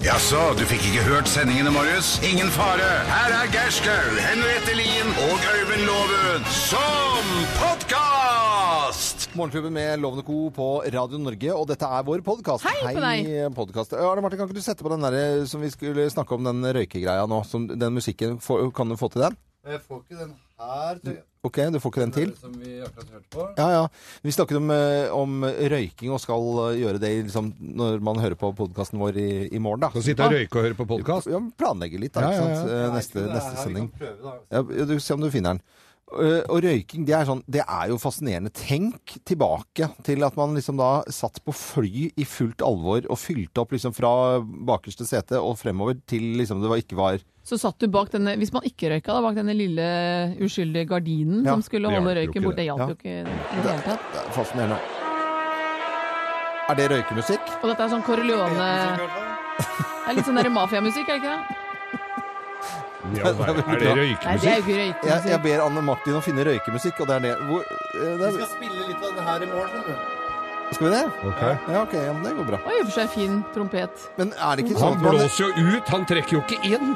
Jaså, du fikk ikke hørt sendingene, Marius? Ingen fare. Her er Gerskaug, Henriette Lien og Øyvind Loven som podkast! Morgenklubben med Lovende Co. på Radio Norge, og dette er vår podkast. Hei på podcast. Ja, Arne Martin, kan ikke du sette på den der eh, som vi skulle snakke om, den røykegreia nå? Som, den musikken, Få- kan du få til den? Jeg får ikke den her, tror jeg. Ok, du får ikke den til? Som vi akkurat hørte på. Ja, ja. Vi snakket om, eh, om røyking og skal eh, gjøre det i, liksom, når man hører på podkasten vår i, i morgen, da. Skal sitte og røyke og høre på podkast. Ja, planlegge litt, da. Ja, Ikke ja, sant? ja. Eh, Nei, Neste, ikke det neste her. Vi sending. kan prøve, da. Ja, du, se om du finner den. Eh, Og røyking, det er, sånn, det er jo fascinerende. Tenk tilbake til at man liksom da satt på fly i fullt alvor og fylte opp liksom fra bakerste sete og fremover til liksom det var, ikke var Så satt du bak denne, hvis man ikke røyka, da, bak denne lille uskyldige gardinen Ja, som skulle det hjalp holde jo røyken ikke borte. Det hjalp Ja. jo ikke i det hele tatt. Det er fascinerende. Er det røykemusikk? Og dette er sånn Corleone Det er litt sånn der mafiamusikk, er det ikke det? Ja, hva er- er det Nei, det er røykemusikk? jo ikke Jeg, jeg røykemusikk. ber Anne Martin å finne røykemusikk, og det er det. Hvor, eh, Vi det skal spille litt av det her i morgen. skjønner du. er, skal vi det? Ok. Ja, ok, ja, men det går bra. Og i og for seg fin trompet. Men er det ikke sånn Han at man, blåser jo ut, han trekker jo ikke inn.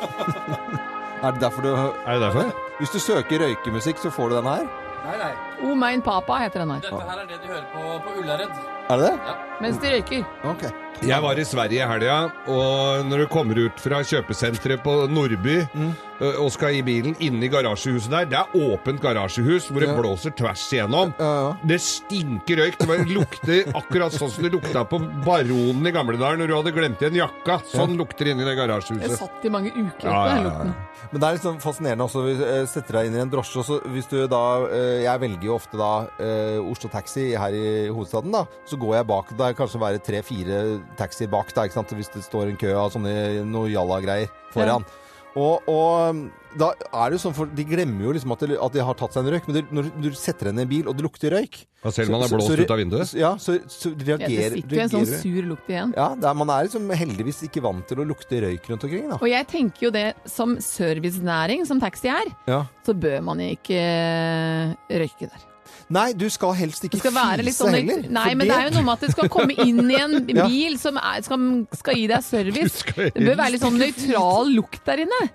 Er det derfor du Er det derfor? Hvis du søker røykemusikk, så får du den her? Nei, nei. O Oh, mein papa heter den her. Dette her er det de hører på på Ullared. Er det det? Mens de røyker. Ok. Jeg var i Sverige i helga, og når du kommer ut fra kjøpesenteret på Nordby ø, og skal i bilen, inne i garasjehuset der, det er åpent garasjehus hvor det Ja. blåser tvers igjennom. Ja, ja. Det stinker røyk. Det var- lukter akkurat sånn som det lukta på Baronen i gamle dager når du hadde glemt igjen jakka. Sånn lukter det inni det Jeg garasjehuset. satt i mange uker Ja, på ja, den ja. lukten. Men det er litt sånn fascinerende også, hvis eh, setter deg inn i en drosje, og så hvis du da, eh, jeg velger jo ofte da eh, Oslo Taxi her i hovedstaden da, så går jeg bak, da er kanskje være tre-fire taxier bak da, ikke sant, hvis det står en kø av sånne noe jalla-greier foran. Og, og da er det jo sånn, for de glemmer jo liksom at de, at de har tatt seg en røyk, men det, når du setter deg inn i en bil, og det lukter røyk, Og selv om man så- er så- blåst så- ut av vinduet. Ja, så, så Ja, det reagerer, sitter jo en reagerer sånn du. sur lukt igjen. Ja, det er, man er liksom heldigvis ikke vant til å lukte røyk rundt omkring da. Og jeg tenker jo det, som servicenæring, som taxi er, Ja. så bør man ikke eh, røyke der. Nei, du skal helst ikke Det skal være litt fise sånn heller. Nei, for men det er jo noe med at det skal komme inn i en Ja. bil som er, skal, skal gi deg Du service. skal Det bør helst være litt sånn nøytral lukt der inne.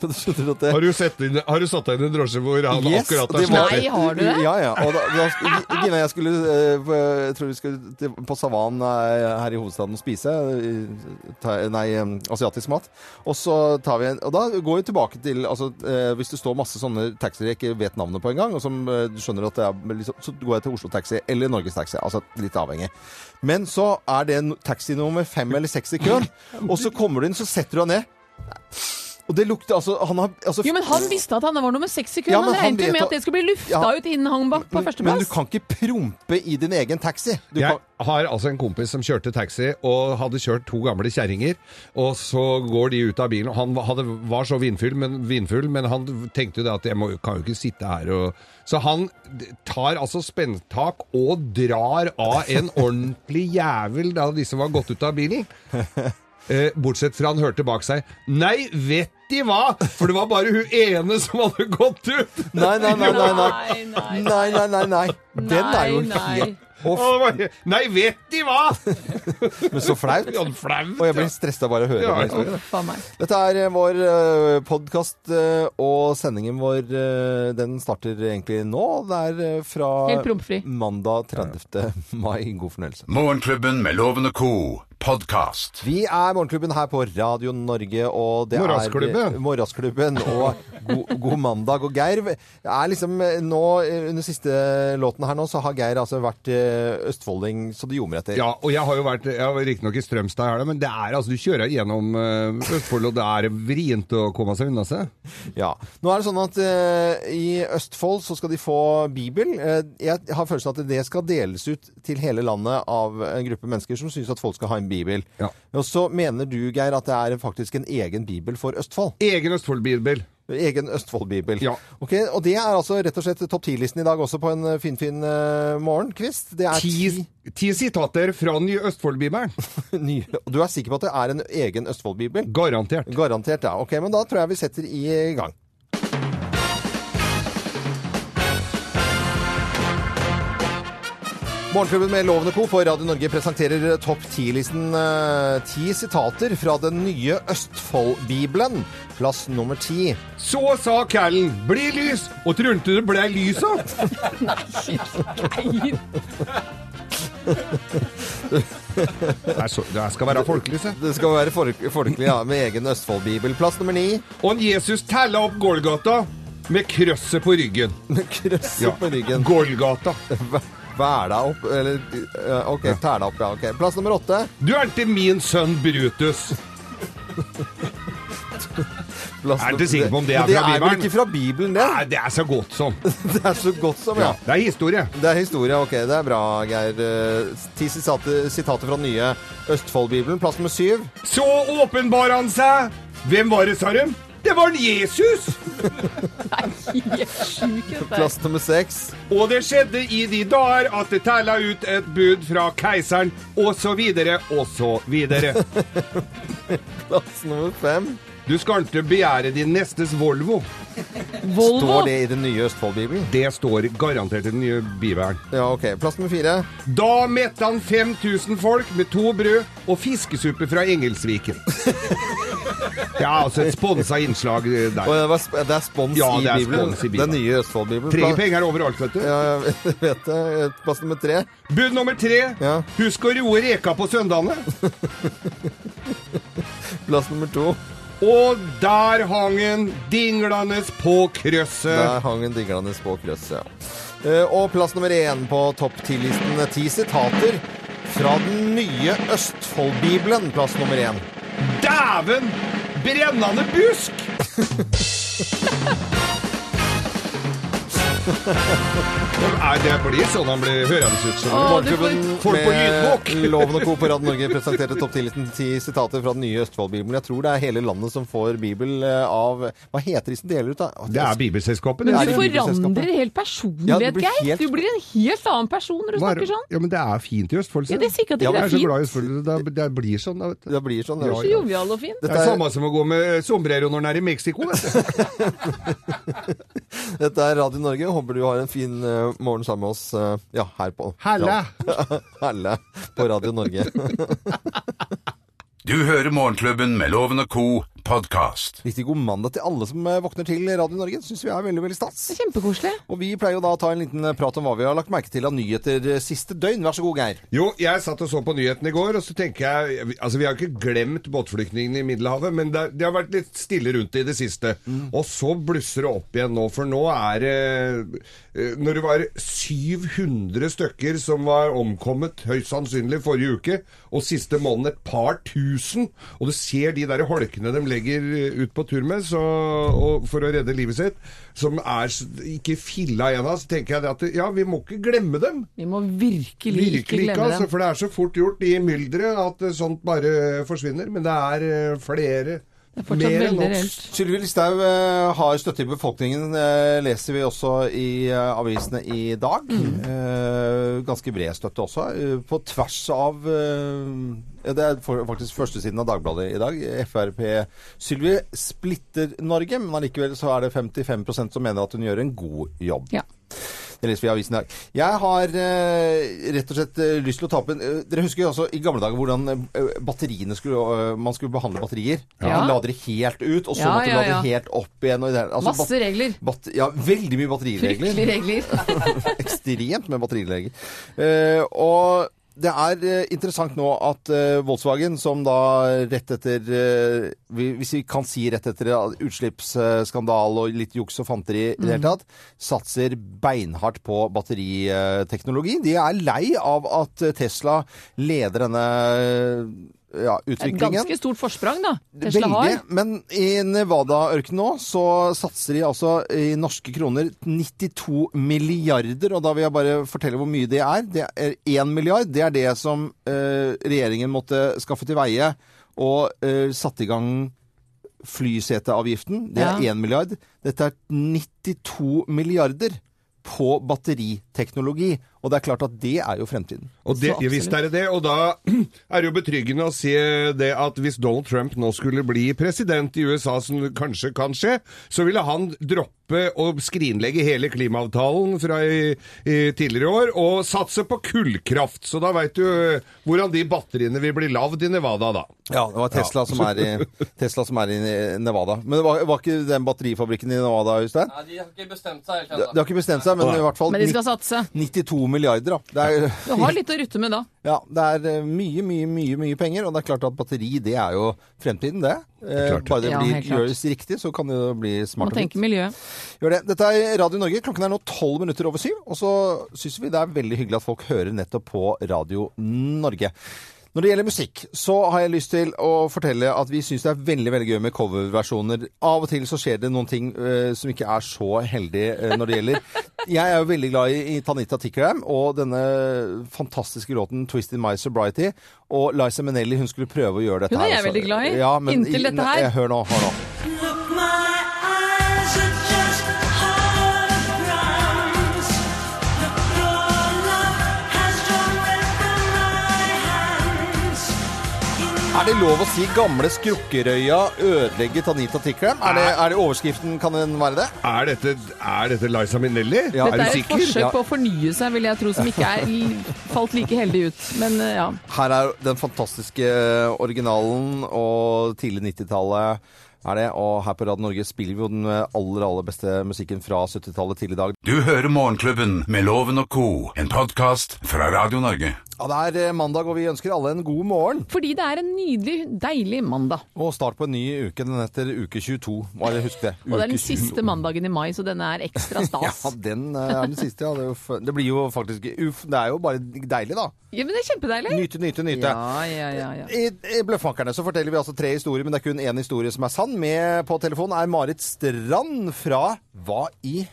Men du skjønner at det Har du, sett inn, har du satt deg inn i en drosje hvor han Yes, akkurat har det var- slått Nei, har du det? Ja, ja. Og da, da, sk- Gina, jeg skulle eh, på- Jeg tror vi skulle til- på Savan eh, her i hovedstaden og spise eh, ta- Nei, eh, asiatisk mat. Og så tar vi en Og da går vi tilbake til altså, eh, Hvis det står masse sånne taxier jeg ikke vet navnet på engang, og som eh, du skjønner at det er liksom, Så går jeg til Oslo Taxi eller Norges Taxi. Altså litt avhengig. Men så er det no- taxi nummer fem eller seks i køen, og så kommer du inn, så setter du deg ned. Og det lukter altså Han har altså, Jo, men han visste at han var nummer seks i køen. Ja, men han han regnet jo vet med at- at det skulle bli lufta Ja. ut innen han bak på Men- Men du førsteplass. kan ikke prompe i din egen taxi. Du jeg kan... har altså en kompis som kjørte taxi og hadde kjørt to gamle kjerringer. Og så går de ut av bilen. og Han var- hadde, var så vindfull men, vindfull, men han tenkte jo det at jeg må, kan jo ikke sitte her og Så han d- tar altså spenntak og drar av en ordentlig jævel da de som var gått ut av bilen. Eh, Bortsett fra han hørte bak seg Nei, vet de hva! For det var bare hun ene som hadde gått ut! Nei, nei, nei, nei, nei. nei, Nei, nei, nei, nei. Den er jo Nei, nei. helt Og det var helt- Nei, vet de hva! Men så flaut. Ja, flaut, Og jeg ja. blir stressa bare av å høre Ja, den ja. historien. Uff a meg. Dette er eh, vår podkast, og sendingen vår eh, den starter egentlig nå. Det er eh, fra Helt prompfri. mandag 30. mai. God fornøyelse. Morgenklubben med Loven og co. podkast. Vi er Morgenklubben her på Radio Norge, og det Morgensklubben. er Morgensklubben og god, god mandag. Og Geir er liksom eh, nå, eh, under siste låten her nå, så har Geir altså vært eh, østfolding så det ljomer etter. Ja, og jeg har jo vært Jeg var riktignok i Strømstad i helga, men det er altså Du kjører gjennom eh, Østfold, og det er vrient å komme seg unna seg. Ja. Nå er det sånn at eh, i Østfold så skal de få Bibel. Eh, jeg har følelsen av at det skal deles ut til hele landet av en gruppe mennesker som syns at folk skal ha en Bibel. Ja. Og så mener du, Geir, at det er faktisk en egen Bibel for Østfold. Egen Østfold-bilbil. Egen Østfold-bibel. Ja. Ok, Og det er altså rett og slett topp 10-listen i dag også på en eh, finfin uh, morgenkvist. Det er Ti, ti ti sitater fra den nye Østfold-bibelen. nye Og Du er sikker på at det er en egen Østfold-bibel? Garantert. Garantert, ja. Ok, Men da tror jeg vi setter i gang. Morgenklubben med Lovende Co. for Radio Norge presenterer topp ti-listen eh, ti sitater fra den nye Østfold-bibelen. Plass nummer ti. Så sa Callen 'bli lys', og trunte det blei lys av. Nei, Det er så- Det skal være folkelig, se. Det skal være folk- folkelig, ja, med egen Østfold-bibel. Plass nummer ni. Og Jesus tella opp Golgata med krøsset på ryggen. Krøsset Ja. på ryggen. Golgata. Væla opp, eller eh, OK, tæla opp, ja. ok. Plass nummer åtte. Du er ikke min sønn Brutus. Plass Jeg nummer- er ikke sikker på om det er Men det fra er vel Bibelen. ikke fra Bibelen, det? Nei, det er så godt som. Det er så godt som, ja. Ja, det er historie. Det er historie, ok. Det er bra, Geir. Eh, Ti sitater, sitater fra den nye Østfold-bibelen. Plass nummer syv. Så åpenbar han seg. Hvem var det, sa de? Det var en Jesus! jeg er sjuk, dette her. Plass nummer seks. Og det skjedde i de dager at det tella ut et bud fra keiseren, og så videre, og så videre. Plass nummer fem. Du skal ikke begjære din nestes Volvo. Volvo. Står det i den nye Østfold-bibelen? Det står garantert i den nye bibelen. Ja, ok. Plass nummer fire. Da mette han 5000 folk med to brød og fiskesuppe fra Engelsviken. Ja, altså et sponsa innslag eh, Og der. det, var, sp- det er spons Ja, i det er Bibelen. spons i Bibelen. Den nye Østfold-bibelen. Trenger Pla- penger overalt, vet du. Ja, jeg vet det. Plass nummer tre. Bud nummer tre. Ja. Husk å roe reka på søndagene. Plass nummer to. Og der hang han dinglende på krøsset. Der hang en dinglende på krøsset, ja. Eh, Og plass nummer én på topp ti-listen. eh, Ti sitater fra den nye Østfold-bibelen. Plass nummer én. Dæven! Brennende busk! Nei, det blir sånn han blir hørende ut som. Å, du får Morgenklubben Folk på med lydbok. Loven og Co. på Radio Norge presenterte topp 10-listen ti sitater fra den nye Østfold-bibelen. Jeg tror det er hele landet som får bibel eh, av Hva heter de som deler ut, da? Å, Det er Bibelselskapet. Men det. Er du det Bibelselskapet? forandrer helt Ja, du personlighet, blir Geir. helt- Du blir en helt annen person når Hva du er- snakker sånn. Ja, men det er fint i Østfold. Ja, det er sikkert Ja, ikke men jeg det er er så fint. glad i Østfold. Det, er- det er- blir sånn. da, Vet du. det blir sånn. det Så er- jovial og fin. Det er samme som å gå med sombrero når en er i Mexico. Vet du. Dette er Radio Norge. Håper du har en fin eh, morgen sammen med oss eh, ja, her på Helle! Helle på Radio Norge. Du hører Morgenklubben med Loven og Co. podkast. Riktig god mandag til alle som eh, våkner til Radio Norge. Syns vi er veldig, veldig stas. Det er Kjempekoselig. Og vi pleier jo da å ta en liten eh, prat om hva vi har lagt merke til av nyheter eh, siste døgn. Vær så god, Geir. Jo, jeg satt og så på nyhetene i går, og så tenker jeg Altså, vi har jo ikke glemt båtflyktningene i Middelhavet, men det, det har vært litt stille rundt det i det siste. Og så blusser det opp igjen nå, for nå er det eh, Når det var 700 stykker som var omkommet, høyst sannsynlig forrige uke, og siste måneden et par tusen, og du ser de der holkene de legger eh, ut på tur med så, og, for å redde livet sitt, som er s- ikke filla igjen av, så tenker jeg det at ja, vi må ikke glemme dem. Vi må virkelig ikke Virkelig ikke, glemme altså, den. for det er så fort gjort i mylderet at eh, sånt bare eh, forsvinner. Men det er eh, flere. Det er fortsatt mer enn veldig nok. reelt. Sylvi Listhaug eh, har støtte i befolkningen, eh, leser vi også i eh, avisene i dag. Eh, ganske bred støtte også, eh, på tvers av eh, ja, Det er for, faktisk førstesiden av Dagbladet i dag. Frp Sylvi splitter Norge, men allikevel så er det 55 som mener at hun gjør en god jobb. Ja. Det leser vi i avisen i dag. Jeg har eh, rett og slett eh, lyst til å ta opp en eh, Dere husker jo altså i gamle dager hvordan eh, batteriene skulle eh, Man skulle behandle batterier. Ja. Man lader det helt ut, og så Ja, måtte man ja, lade ja. det helt opp igjen. Og det, altså, Masse regler. Bat ja, veldig mye batteriregler. Fryktelige regler. Ekstremt med batterileger. Eh, og det er eh, interessant nå at eh, Volkswagen, som da rett etter eh, vi, Hvis vi kan si rett etter eh, utslippsskandal og litt juks og fanteri i det hele tatt, satser beinhardt på batteriteknologi. De er lei av at eh, Tesla leder denne eh, ja, Et utviklingen. ganske stort forsprang, da. Tesla har. Veldig, men i Nevada-ørkenen nå så satser de altså i norske kroner 92 milliarder, og da vil jeg bare fortelle hvor mye det er. Det er 1 milliard, det er det som eh, regjeringen måtte skaffe til veie og eh, satte i gang flyseteavgiften. Det er 1 Ja. milliard. Dette er 92 milliarder på batteriteknologi, og det er klart at det er jo fremtiden. Og det, Så ja, visst er det det, og da er det jo betryggende å se det at hvis Donald Trump nå skulle bli president i USA, som kanskje kan skje, så ville han droppe oppe og skrinlegge hele klimaavtalen fra i, i tidligere år, og satse på kullkraft. Så da veit du eh, hvordan de batteriene vil bli lagd i Nevada, da. Ja, det var Tesla, som er i, Tesla som er i Nevada. Men det var, var ikke den batterifabrikken i Nevada, Øystein? Nei, de har ikke bestemt seg helt Det det ennå. har ikke bestemt seg, men i hvert fall Men de skal satse. 92 milliarder, da. Det er, Du har litt å rutte med da. ja, det er eh, mye, mye, mye mye penger. Og det er klart at batteri, det er jo fremtiden, det. Eh, klart. Bare det Ja, blir, helt klart. gjøres riktig, så kan det jo bli Må smart. og fint. tenke miljø. Gjør det. Dette er Radio Norge. Klokken er nå tolv minutter over syv. Og så syns vi det er veldig hyggelig at folk hører nettopp på Radio Norge. Når det gjelder musikk, så har jeg lyst til å fortelle at vi syns det er veldig veldig gøy med coverversjoner. Av og til så skjer det noen ting eh, som ikke er så heldig eh, når det gjelder. Jeg er jo veldig glad i, i Tanita Tikram og denne fantastiske låten 'Twisted My Sobriety'. Og Liza Minnelli, hun skulle prøve å gjøre dette Hun er her. jeg også. veldig glad i. Ja, men Inntil dette Nei, her. Hør nå. Hør nå. Look, my eyes are just holograms. Look, your love has drawn red from my hands. Er det lov å si 'gamle skrukkerøya ødelegger Tanita Tikram'? Er, det- er det overskriften? Kan den være det? Er dette, er dette Liza Minnelli? Ja. Er Dette du er et sikker? forsøk på å fornye seg, vil jeg tro, som ikke er li- falt like heldig ut. Men eh, ja. Her er den fantastiske eh, originalen og tidlig 90-tallet. Er det, og her på Radio Norge spiller vi jo den eh, aller aller beste musikken fra 70-tallet til i dag. Du hører Morgenklubben med Loven og Co., en podkast fra Radio Norge. Ja, Det er eh, mandag, og vi ønsker alle en god morgen. Fordi det er en nydelig, deilig mandag. Og start på en ny uke. Den heter uke 22. Bare husk det. Og det Uke er 22. den siste mandagen i mai, så denne er ekstra Ja, stas. den eh, er den siste. Ja. Det, er jo f det blir jo faktisk Uff, det er jo bare deilig, da. Ja, men det er kjempedeilig. Nyte, nyte, nyte. Ja, ja, ja, ja. I, I Bløffmakerne så forteller vi altså tre historier, men det er kun én historie som er sann. Med på telefonen er Marit Strand fra Hva i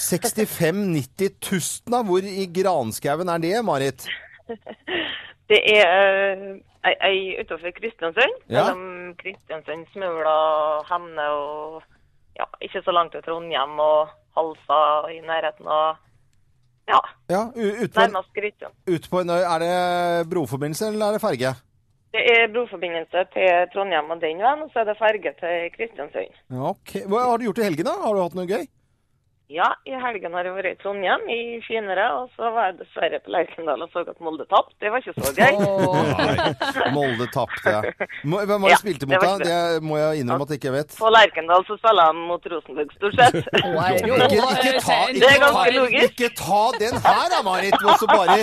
6590 Tustna? Hvor i granskauen er det, Marit? Det er eh, ei, ei utenfor Kristiansund. Ja. Mellom Kristiansund, Smøla, Hemne og ja, ikke så langt til Trondheim og Halsa i nærheten av Ja, Ja, u- ut på, en- nærmest Kristiansund. ut på en øy. Er det broforbindelse, eller er det ferge? Det er broforbindelse til Trondheim og den veien, og så er det ferge til Kristiansund. Ja, ok. Hva har du gjort i helgen, da? Har du hatt noe gøy? Ja, i helgen har jeg vært i Trondheim, i finere, og så var jeg dessverre på Lerkendal og så at Molde tapte. Det var ikke så gøy. Åh, Molde tapte. Må- Hvem var det Ja, du spilte det mot, da? var ikke Det må jeg innrømme at jeg ikke vet. På Lerkendal så spiller de mot Rosenborg, stort sett. nei, jo, Ikke, ikke, ta, ser- ikke, eh, Det er ganske ta, logisk. ikke ta den her, da, Marit. Og så bare,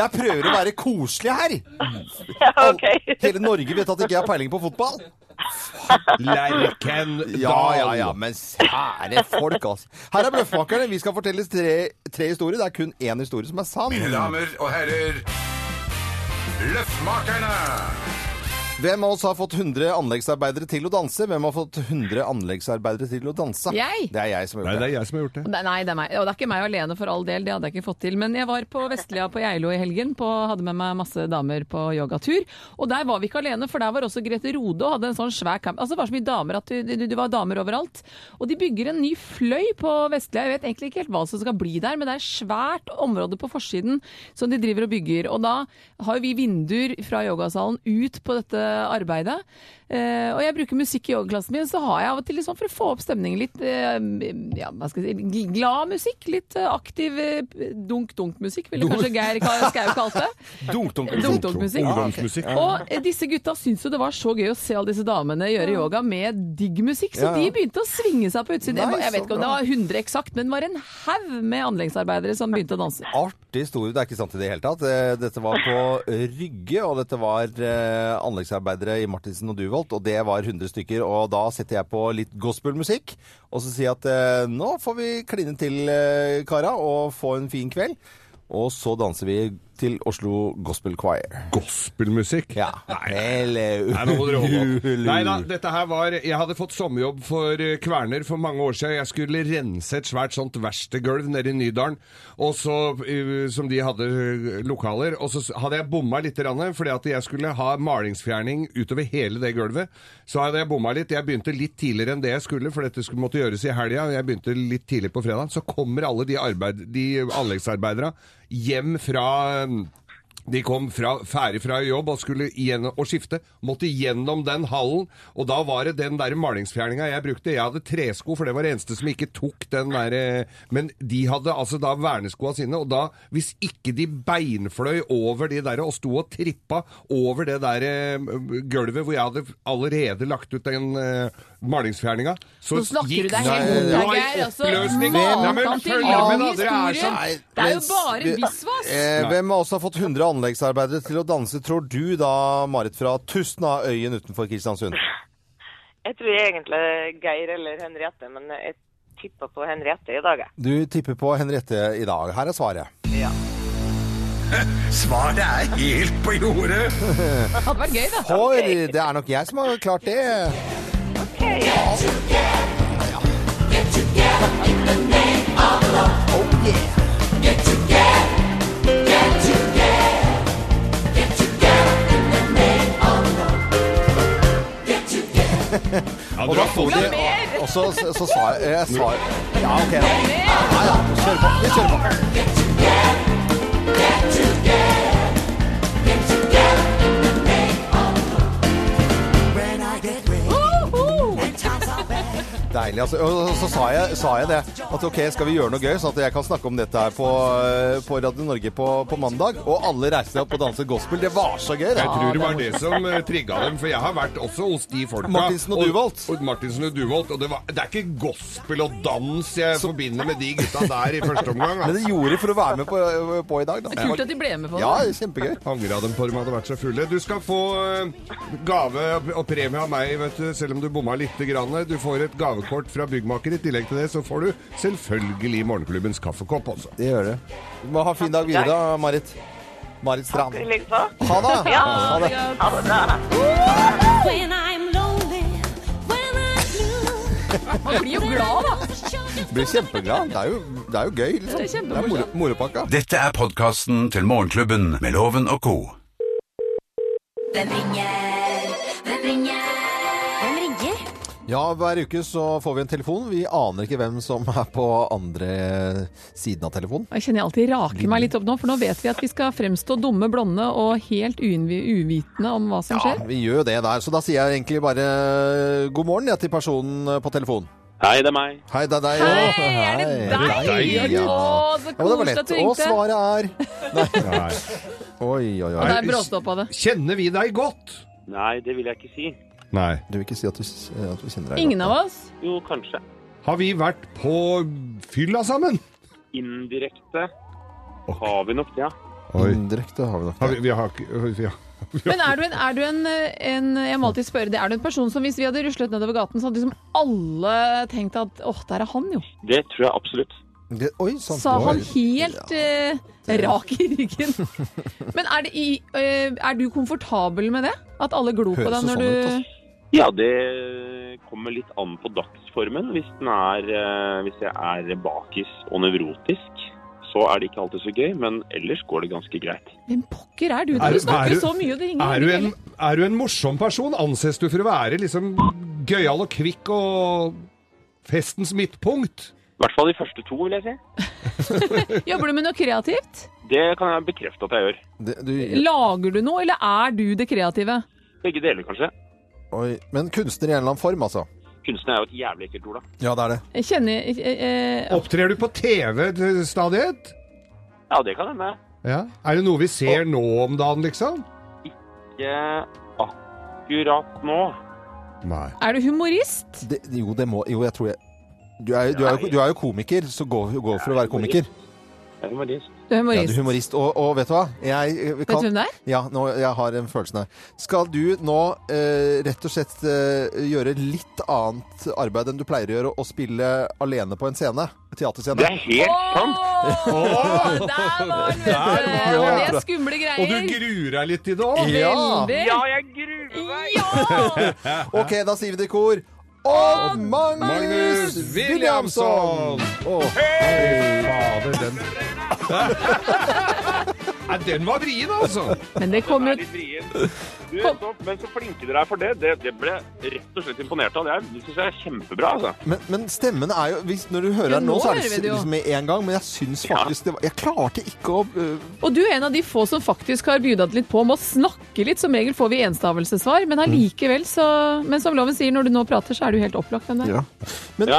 jeg prøver å være koselig her. Ja, OK. Hele Norge vet at ikke jeg har peiling på fotball. Lerkendal! Ja, ja, ja, men sære folk, altså. Her er Bløffmakerne. Vi skal fortelle tre, tre historier. Det er kun én historie som er Mine sann. damer og herrer, Løffmakerne! Hvem av oss har fått 100 anleggsarbeidere til å danse? Hvem har fått 100 anleggsarbeidere til å danse? Jeg. Det er jeg som har Nei, gjort det det. er jeg som har gjort det. Nei, nei, det er meg. Og det er ikke meg alene for all del, det hadde jeg ikke fått til. Men jeg var på Vestlia på Geilo i helgen, på, hadde med meg masse damer på yogatur. Og der var vi ikke alene, for der var også Grete Rode og hadde en sånn svær camp. Altså det var så mye damer at du, du, du var damer overalt. Og de bygger en ny fløy på Vestlia. Jeg vet egentlig ikke helt hva som skal bli der, men det er et svært område på forsiden som de driver og bygger. Og da har jo vi vinduer fra yogasalen ut på dette arbeidet. Eh, og jeg bruker musikk i yogaklassen min, så har jeg av og til liksom for å få opp stemningen litt eh, ja, hva skal jeg si, gl- glad musikk. Litt eh, aktiv dunk-dunk-musikk, ville kanskje Geir Ka- Skau kalt det. Dunk-dunk. Dunk-dunk-musikk. Ungdomsmusikk. Og eh, disse gutta syntes jo det var så gøy å se alle disse damene gjøre yoga med digg musikk, så Ja, ja. de begynte å svinge seg på utsiden. Jeg Nei, ba- jeg så vet ikke om bra. det var 100 eksakt, men det var en haug med anleggsarbeidere som begynte å danse. Artig historie. Det er ikke sant i det hele tatt. Eh, Dette var på Rygge, og dette var eh, anleggsarbeidere i Martinsen og Duvolt, og det var 100 stykker. Og da setter jeg på litt gospelmusikk, og så sier jeg at eh, nå får vi kline til, eh, kara, og få en fin kveld. Og så danser vi til Oslo Gospel Choir. Gospelmusikk. Ja. Eller Nei, nå må dere holde opp. Nei da, dette her var Jeg hadde fått sommerjobb for eh, Kverner for mange år siden. Jeg skulle rense et svært sånt verkstedgulv nede i Nydalen, og så, eh, som de hadde eh, lokaler. Og så s- hadde jeg bomma litt, grann, fordi at jeg skulle ha malingsfjerning utover hele det gulvet. Så hadde jeg bomma litt. Jeg begynte litt tidligere enn det jeg skulle, for dette skulle måtte gjøres i helga. Jeg begynte litt tidlig på fredag. Så kommer alle de, arbeid, de anleggsarbeiderne hjem fra eh, De kom fra, ferdig fra jobb og skulle igjen, og skifte. Måtte gjennom den hallen. Og da var det den der malingsfjerninga jeg brukte. Jeg hadde tresko, for det var det eneste som ikke tok den der eh, Men de hadde altså da verneskoa sine, og da, hvis ikke de beinfløy over de der og sto og trippa over det der eh, gulvet hvor jeg hadde allerede lagt ut den eh, malingsfjerninga, så Nå snakker du deg Nei, helt nei, bort, nei. Geir. Altså, Oppløsning. Makan Ja, men til følg lang med, da. Dere er historie. så- Nei, Det er jo mens- bare visvas. Eh, hvem av oss har fått 100 anleggsarbeidere til å danse, tror du da, Marit fra Tustnaøyen utenfor Kristiansund? Jeg tror egentlig Geir eller Henriette, men jeg tippa på Henriette i dag, jeg. Du tipper på Henriette i dag. Her er svaret. Svaret er helt på jordet. Det hadde vært gøy, da. For det er nok jeg som har klart det. Ja, dere har fått det. Og så, så, så sa jeg, jeg sa, Ja, ok. da. Ja, ja, kjør på. Vi kjører på. When I get ready, and times are bad. Deilig, altså. Og så sa jeg, sa jeg det. At ok, skal vi gjøre noe gøy, sånn at jeg kan snakke om dette her på, eh, på Radio Norge på, på mandag? Og alle reiste seg opp og danset gospel. Det var så gøy, det. Jeg tror det var det som eh, trigga dem, for jeg har vært også hos de folka. Martinsen og Duvold. Og, og Martinsen og Duvold. Og det, var, det er ikke gospel og dans jeg forbinder med de gutta der i første omgang. Men Altså. det gjorde de for å være med på, på i dag, da. Kult at de ble med på det. Ja, kjempegøy. Angra dem på at de hadde vært så fulle. Du skal få eh, gave og premie av meg, vet du, selv om du bomma lite grann. Du får et gavekort fra byggmaker. I tillegg til det så får du selvfølgelig morgenklubbens kaffekopp også. Det gjør det. Du må ha en fin dag videre, da, Marit. Marit Strand. I like så. Ha det! Ja. Ha det. Ha det bra. When I'm lonely, when I'm blue, Man blir jo glad, da. Blir kjempeglad. Det er jo, det er jo gøy, liksom. Det er kjempemorsomt. moro- moropakka. Dette er podkasten til Morgenklubben med Loven og co. Hvem ringer? Hvem ringer? Hvem ringer? Ja, hver uke så får vi en telefon. Vi aner ikke hvem som er på andre siden av telefonen. Jeg kjenner jeg alltid raker meg litt opp nå, for nå vet vi at vi skal fremstå dumme, blonde og helt uinnvi- uvitende om hva som skjer. Vi gjør jo det der, så da sier jeg egentlig bare eh, god morgen ja, til personen eh, på telefonen. Hei, det er meg. Hei, det er deg. Hei, Å, er det hei. deg? Er det deg? Ja. Å, så Ja, men det var koselig at lett. du Og ringte. svaret er Nei. Oi, oi, Og oi. der bråste opp av det. Kjenner vi deg godt? Nei, det vil jeg ikke si. Nei. Du vil ikke si at du, eh, at du kjenner deg Ingen av oss. Jo, kanskje. Har vi vært på fylla sammen? Indirekte har vi nok det, ja. Indirekte har vi nok Har det. vi, vi har ikke vi har, Men er du en, er du en, en Jeg må alltid spørre det. Er du en person som hvis vi hadde ruslet nedover gaten, så hadde liksom alle tenkt at åh, der er han jo. Det tror jeg absolutt. Det- Oi, sant. Sa han Oi. helt eh, rak i ryggen. Men er, det i, eh, er du komfortabel med det? At alle glor på Høres jo deg sånn når ut, du altså. Ja, det kommer litt an på dagsformen. Hvis, den er, eh, hvis jeg er bakis og nevrotisk, så er det ikke alltid så gøy, men ellers går det ganske greit. Hvem pokker er du? Er Du du- er snakker du- så mye, og det ringer er, du en, er du en morsom person? Anses du for å være liksom gøyal og kvikk og festens midtpunkt? I hvert fall de første to, vil jeg si. Jobber du med noe kreativt? Det kan jeg bekrefte at jeg gjør. Det, du, Lager du noe, eller er du det kreative? Begge deler, kanskje. oi. Men kunstner i en eller annen form, altså. Kunsten er jo et jævlig ekkelt ord, da. Ja, det er det. Jeg kjenner eh, eh, Opptrer du på TV til stadighet? Ja, det kan hende. Ja. Er det noe vi ser nå om dagen, liksom? Ikke akkurat nå. Nei. Er du humorist? det jo, det må Jo, jeg tror jeg Du er, du er, jo, du er jo komiker, så gå, gå for å være komiker. Jeg er humorist. Ja, du Du er er humorist. humorist. Og, og vet du hva? Jeg eh, Vet du kan hvem det er? Ja, nå, jeg har en følelse her. Skal du nå eh, rett og slett eh, gjøre litt annet arbeid enn du pleier å gjøre, og spille alene på en scene? Det Teaterscene? er helt sant! Åh, Der var han, vet du! var Det han. er skumle Og du greier. gruer deg litt i det òg? Ja! Veldig. Ja, jeg gruer meg! Ja! OK, da sier vi det i kor. Odd Magnus Magnus Williamson! Williamson! Å, fy fader, den Nei, den var vrien, altså! Men det kom jo litt vrien. Du, så, men så flinke dere er for det. det. Det ble jeg rett og slett imponert av. Det er- det syns jeg er kjempebra. altså. Men, men stemmen er jo hvis, Når du hører Ja, den nå nå, så er hører vi det det jo. liksom med en gang. Men jeg syns faktisk det var Jeg klarte ikke å øh, Og du er en av de få som faktisk har bjudet litt på med å snakke litt. Som regel får vi enstavelsesvar, men allikevel så Men som loven sier, når du nå prater, så er du helt opplagt hvem det er. Ja. Men,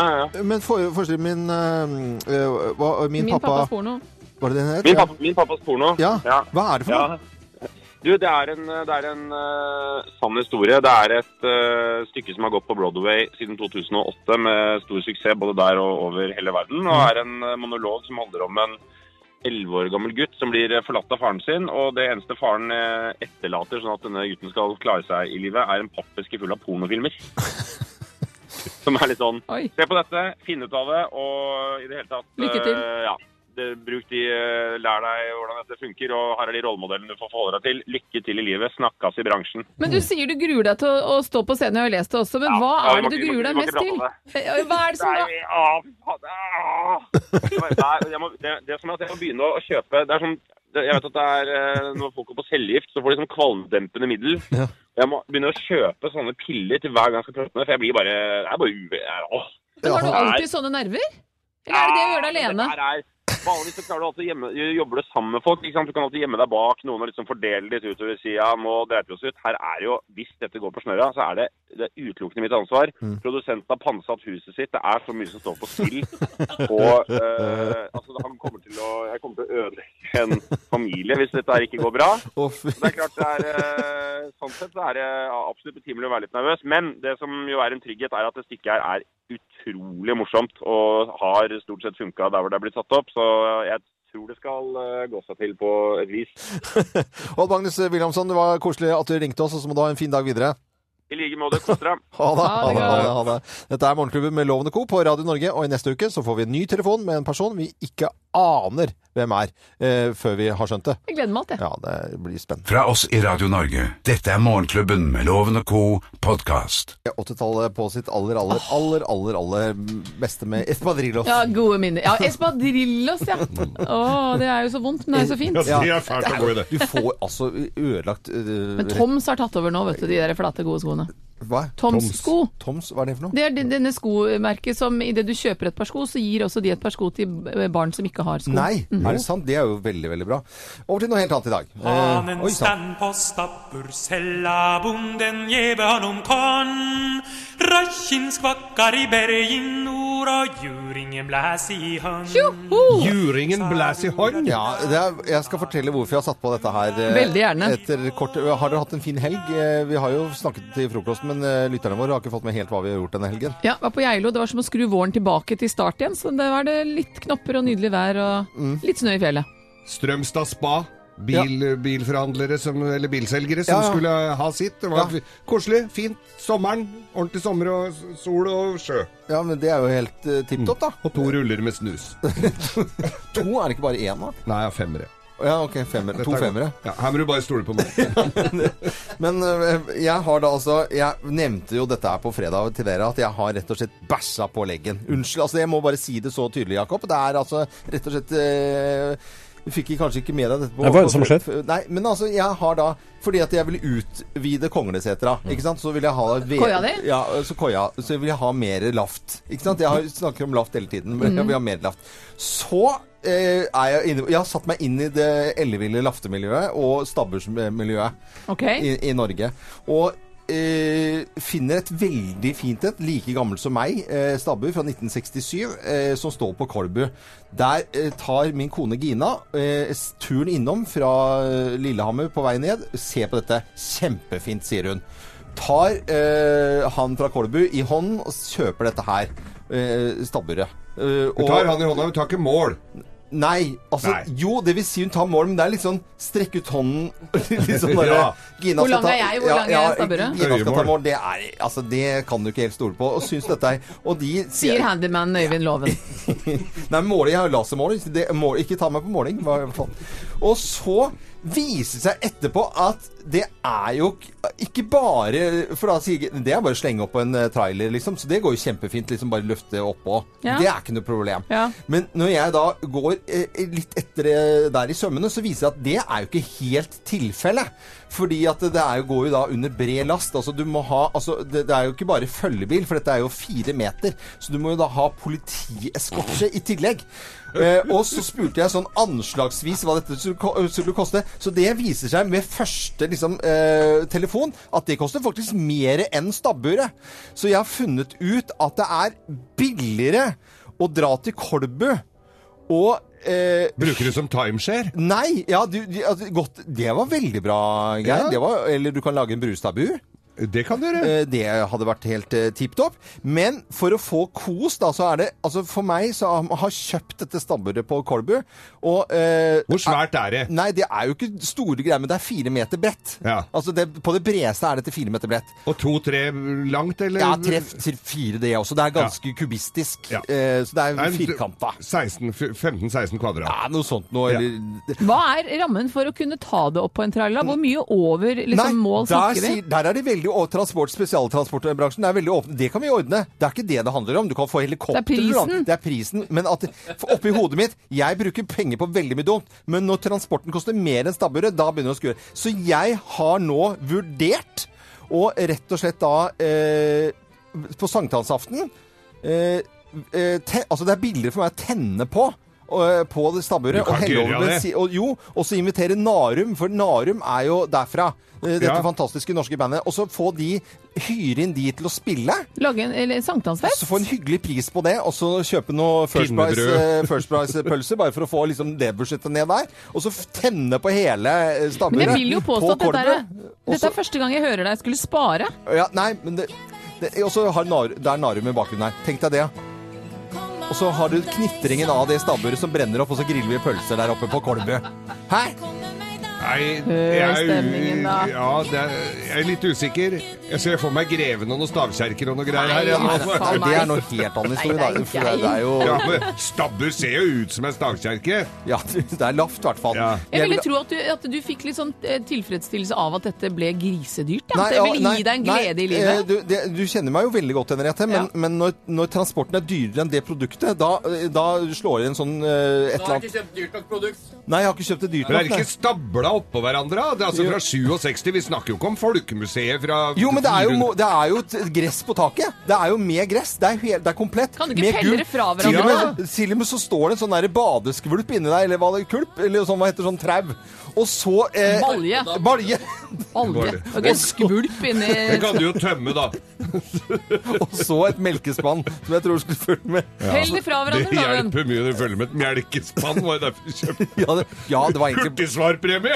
men for, forestill min øh, øh, hva, øh, min, Min pappas pappa porno. Var det det den het? Min, pappa, min pappas porno. Ja. Hva er det for noe? Du, det er en, det er en eh, sann historie. Det er et eh, stykke som har gått på Broadway siden 2008 med stor suksess både der og over hele verden. Mm. Og er en eh, monolog som handler om en 11 år gammel gutt som blir eh, forlatt av faren sin. Og det eneste faren eh, etterlater, sånn at denne gutten skal klare seg i livet, er en pappeske full av pornofilmer. Som er litt sånn Se på dette, finn ut av det, og i det hele tatt Lykke til. eh, ja, det, bruk de, eh, lær deg hvordan dette funker, og her er de rollemodellene du får forholde deg til. Lykke til i livet. Snakkes i bransjen. Men du sier du gruer deg til å, å stå på scenen, jeg har jo lest det også, men hva ja, vi er må det du ikke- vi må gruer deg ikke mest prate til? Eh, om Hva er det som Nei, ah, faen, ah. Det var- Nei, jeg må, det, det er som at jeg må begynne å kjøpe Det er som det- Jeg vet at det er eh, Når folk går på cellegift, så får de sånn kvalmdempende middel. Jeg må begynne å kjøpe sånne piller til hver gang jeg skal prate med for jeg blir bare Jeg er bare uve... jeg- Åh. Men har du Nei. alltid sånne nerver? Eller er det det å gjøre deg Ja, men alene? det her er- Vanligvis så klarer du alltid å gjemme, jobber du sammen med folk. Ikke sant? Du kan alltid gjemme deg bak noen og liksom fordele litt utover og si ja, nå dreit vi oss ut. Her er jo, hvis dette går på snørra, så er det, det er utelukkende mitt ansvar. Produsenten har pantsatt huset sitt. Det er så mye som står på spill. Og eh, altså, han kommer til å, jeg kommer til å ødelegge en familie hvis dette her ikke går bra. Å, fy. Det er klart det er eh, Sånn sett så er det ja, absolutt betimelig å være litt nervøs. Men det som jo er en trygghet, er at det stykket her er utrolig morsomt og har stort sett funka der hvor det er blitt satt opp. Så jeg tror det skal eh, gå seg til på et vis. Odd Magnus Williamson, det var koselig at du ringte oss, og så må du ha en fin dag videre. I like måte. Kos dere. Ha det. Ha Ha det det, ha det, godt. ha det. Dette er Morgenklubben med Lovende Co. på Radio Norge, og i neste uke så får vi en ny telefon med en person vi ikke aner hvem er, eh, før vi har skjønt det. Jeg gleder meg til det. Ja, det blir spennende. Fra oss i Radio Norge, dette er Morgenklubben med Loven og Co. podkast. 80-tallet på sitt aller, aller, aller, aller, aller beste med Espadrillos. Ja, gode minner. Ja, Espadrillos, ja. Å, det er jo så vondt, men det er jo så fint. Ja. fælt å gå i det. Du får altså ødelagt øh, Men Toms har tatt over nå, vet du, de der flate, gode skoene. Hva? Toms sko. Toms, hva er det for noe? Det er den- denne skomerket som idet du kjøper et par sko, så gir også de et par sko til b- barn som ikke har sko. Nei, Mhm. er det sant? Det er jo veldig, veldig bra. Over til noe helt annet i dag. Eh, Hanen oi, sant. stann på stappur, sella bonden geve honom korn. Røkken skvakkar i bergen nord, og juringen blæs i hånd. Juringen blæs i hånd. Ja, det er, jeg skal fortelle hvorfor jeg har satt på dette her. eh, Veldig gjerne. Etter kort, har dere hatt en fin helg? Eh, Vi har jo snakket til frokosten, men eh, lytterne våre har ikke fått med helt hva vi har gjort denne helgen. Ja, var på Geilo. Det var som å skru våren tilbake til start igjen. Så det var det litt knopper og nydelig vær Mm. og litt snø i fjellet. Strømstad spa. Bil, Bilforhandlere som, eller bilselgere som Ja, ja. skulle ha sitt. Det var Koselig, fint. Sommeren. Ordentlig sommer og s- sol og sjø. Ja, men det er jo helt uh, tipp topp, da. Og to ruller med snus. To, er det ikke bare én, da? Nei, ja, femmere. Ja, ok, femmer, Dette to er godt. femmere. Ja, her må du bare stole på meg. Men øh, jeg har da altså Jeg nevnte jo dette her på fredag til dere, at jeg har rett og slett bæsja på leggen. Unnskyld, altså jeg må bare si det så tydelig, Jakob. Det er altså rett og slett øh, du fikk kanskje ikke med deg dette på Nei, hva er det som har skjedd? Nei, men altså, jeg har da Fordi at jeg vil utvide Konglesetra, Mm. ikke sant? Så vil jeg ha Koia di? Ja, så koia. Så vil jeg ha mer laft. Ikke sant? Jeg har, snakker om laft hele tiden, men jeg vil ha mer laft. Så eh, er jeg inne Jeg har satt meg inn i det elleville laftemiljøet og stabbursmiljøet Ok. i, i Norge. Og eh, finner et veldig fint et, like gammelt som meg, eh, stabbur fra 1967, eh, som står på Kolbu. Der eh, tar min kone Gina eh, s- turen innom fra eh, Lillehammer på vei ned. Se på dette. Kjempefint, sier hun. Tar eh, han fra Kolbu i hånden og kjøper dette her. Eh, stabburet. Eh, Hun tar han i hånda, hun tar ikke mål. Nei, altså Nei. Jo, det vil si hun tar mål, men det er litt sånn strekk ut hånden litt sånn der, Ja. Gina skal Hvor lang er ta- jeg? Hvor lang er stabburet? Gina skal ta Øyemål. mål. Det, er, altså, det kan du ikke helt stole på. Og syns dette er Og de Sier handyman Øyvind Loven. Nei, måling, jeg har jo lasermåling. så Det, må, ikke ta meg på måling. Hva, faen. Og så viser det seg etterpå at det er jo k- ikke bare For da sier jeg- det er bare å slenge oppå en eh, trailer, liksom. Så det går jo kjempefint. liksom Bare løfte oppå. Ja. Det er ikke noe problem. Ja. Men når jeg da går går eh, litt etter eh, der i sømmene, så viser det at det er jo ikke helt tilfellet. Fordi at det er jo, går jo da under bred last. Altså, du må ha, altså, det, det er jo ikke bare følgebil, for dette er jo fire meter. Så du må jo da ha politieskorte i tillegg. Eh, og så spurte jeg sånn anslagsvis hva dette skulle, ko- skulle koste. Så det viser seg med første liksom, eh, telefon at det koster faktisk mer enn stabburet. Så jeg har funnet ut at det er billigere å dra til Kolbu og eh, Bruker du som timeshare? Nei! Ja, du, du, altså, godt, det var veldig bra, Geir. Ja. Det var- Eller du kan lage en brustabu. Det kan du gjøre. Det hadde vært helt eh, tipp topp. Men for å få kos, da, så er det Altså, for meg så har har kjøpt dette stabburet på Kolbu, og eh, Hvor svært ah. er det? Nei, det er jo ikke store greier, men det er fire meter bredt. Altså, det, på det bredeste er dette fire meter bredt. Og to-tre langt, eller? Ja, treff til fire, det også. Det er ganske kubistisk. eh, Så det er firkanta. 15-16 kvadrat. Ja, noe sånt noe. Eller, Hva er rammen for å kunne ta det opp på en tralla? Hvor mye over liksom, mål der, snakker vi? sier- der er de veldig og transport, spesialtransportbransjen er veldig åpne. Det kan vi ordne. Det er ikke det det handler om. Du kan få helikopter. Det er prisen. eller noe annet. Det er prisen. Men at, for oppi hodet mitt Jeg bruker penger på veldig mye dumt, men når transporten koster mer enn stabburet, da begynner det å skure. Så jeg har nå vurdert å rett og slett da eh, På sankthansaften eh, eh, te, Altså, det er billigere for meg å tenne på. eh, På det stabburet. Du kan Og helle ikke over gjøre det. bensin, og, jo, og så invitere Narum, for Narum er jo derfra. eh, Dette Ja. fantastiske norske bandet. Og så få de hyre inn de til å spille. Lage en eller, Så sankthansfest? få Altså, en hyggelig pris på det, og så kjøpe noe First Pinnebrød. Price-pølser, First Price pølser, bare for å få liksom det budsjettet ned der. Og så f- tenne på hele eh, Men stabburet. jeg vil jo påstå at på dette er, Kolbu. dette er første gang jeg hører deg skulle spare. Ja, nei, men det, det Og så har Nar, det er Narum i bakgrunnen her. Tenk deg det. Og så har du knitringen av det stabburet som brenner opp, og så griller vi pølser der oppe på Kolbu. Hæ? Nei, Hør jeg, stemningen, da. Ja, det er, jeg er litt usikker. Jeg ser for meg Greven og noen stavkjerker og noe greier Nei, her. jeg, nå. altså, faen, nei. Det er noe helt annen historie, Nei, det er da, for ikke det- det er jo- Ja, men Stabbur ser jo ut som en stavkjerke. Ja, det er lavt, i hvert fall. Jeg ville tro at du, at du fikk litt sånn eh, tilfredsstillelse av at dette ble grisedyrt. Ja. Nei, At det ville ja, gi nei, deg en nei, glede i livet. eh, Du, det, du kjenner meg jo veldig godt, Henriette, men, men når, når transporten er dyrere enn det produktet, da, eh, da slår det en sånn Da eh, et eller har jeg annet ikke kjøpt dyrt nok produkt. Nei, jeg har ikke kjøpt det dyrt Men nok. er det ikke nei. stabla oppå hverandre? da? Det er altså Jo. fra 67, Vi snakker jo ikke om Folkemuseet fra Jo, men det er jo, 400. mo- det er jo et gress på taket. Det er jo med gress. Det er, hel, det er komplett. Kan du ikke med pelle gulp. det fra Til og hverandre, med- Til og med så står det en sånn der badeskvulp inni deg, eller hva det kulp, eller sånn, hva heter det, sånn trau. Og så eh, Balje. Balje. Balje. Og en skvulp inni Det kan du jo tømme, da. Og så et melkespann, som jeg tror skulle fulgt med. Hell det fra hverandre, Det Daven. hjelper mye når du følger med et melkespann. Var det derfor du kjøpte Ja, det, ja, det var egentlig Hurtigsvarpremie!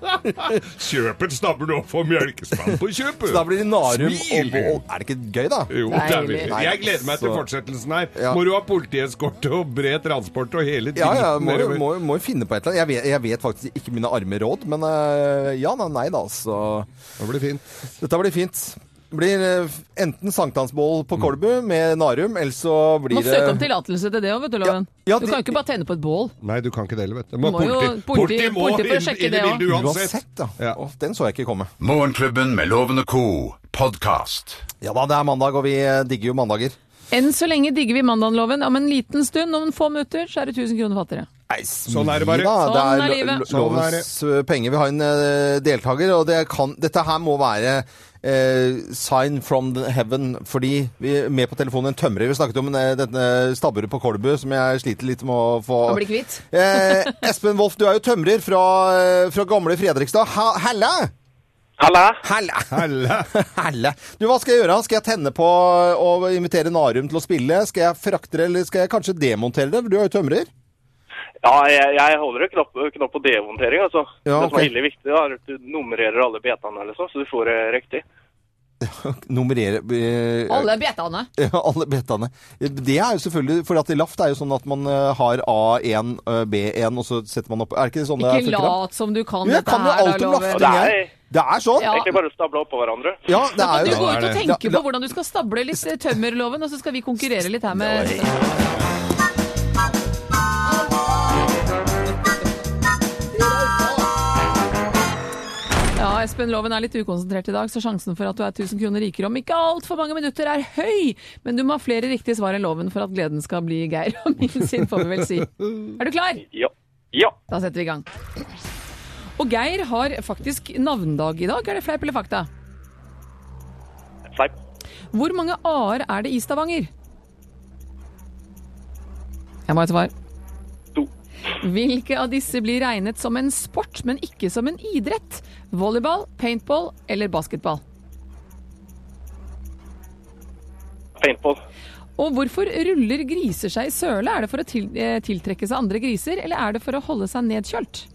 Kjøp en stabbur nå, få melkespann på kjøpet! Så da blir det Narum og, Smil! og Er det ikke gøy, da? Jo, dæven. Jeg gleder meg til Så- fortsettelsen her. Ja. Må du ha politieskorte og bred transport og hele Ja, ja, driten må jo, nedover. må, må jo finne på et eller annet. Jeg vet, jeg vet faktisk ikke mine arme råd, men eh, ja, nei, nei da, altså. Det blir fint. Dette blir fint. Det blir eh, enten sankthansbål Mm. på Kolbu med Narum, eller så Du blir må søke om det tillatelse til det òg, vet du, Loven. Ja, ja, Du kan det- ikke bare tenne på et bål. Nei, du kan ikke det heller, vet du. Du må jo- politi- politi får sjekke det også. Uansett, da. Å, den så jeg ikke komme. Morgenklubben med Loven og co. podkast. Ja da, det er mandag, og vi eh, digger jo mandager. Enn så lenge digger vi mandagenloven. Om en liten stund, om få minutter, så er det 1000 kroner fattigere. Sånn er det bare. Ja, det Sånn er, er livet. lo- Sånn er lovens eh, penger. Vi har en eh, deltaker, og det kan, dette her må være eh, sign from the heaven, fordi vi er med på telefonen en tømrer. Vi snakket om eh, denne stabburet på Kolbu, som jeg sliter litt med å få Å bli kvitt. Eh, Espen Wolff, du er jo tømrer fra, eh, fra gamle Fredrikstad. Ha- Halla! Halla! Halla! Halla! Halla! Du, hva skal jeg gjøre? Skal jeg tenne på og invitere Narum til å spille? Skal jeg frakte det, eller skal jeg kanskje demontere det? For Du er jo tømrer. Ja, jeg, jeg holder en knapp, knapp på demontering, altså. Ja, Det som ok. er ille viktig, er at du nummererer alle betene, liksom, så du får det riktig. Nummerere eh, Alle betene. Ja, alle betene. Det er jo selvfølgelig For at i Laft er jo sånn at man eh, har A1, eh, B1, og så setter man opp Er det ikke sånn Ikke det funker? da? lat som du kan Jo, jeg dette kan jo her, da, alt om Loven. lafting, jeg. Det er sånn. Ja. Egentlig bare stable oppå hverandre. Ja, det er Du jo sånn. går ut og Ja, tenker på hvordan du skal stable litt eh, tømmerloven, og så skal vi konkurrere litt her med Ja, Espen Loven er litt ukonsentrert i dag, så sjansen for at du er 1000 kroner rikere om ikke altfor mange minutter er høy, men du må ha flere riktige svar enn Loven for at gleden skal bli Geir og min sin, får vi vel si. Er du klar? Ja. ja. Da setter vi i gang. Og Geir har faktisk navndag i dag, er det fleip eller fakta? Fleip. Hvor mange a-er er det i Stavanger? Jeg må ha et svar. Hvilke av disse blir regnet som en sport, men ikke som en idrett? Volleyball, paintball eller basketball? Paintball. Og hvorfor ruller griser seg i søle? Er det for å til, eh, tiltrekke seg andre griser, eller er det for å holde seg nedkjølt?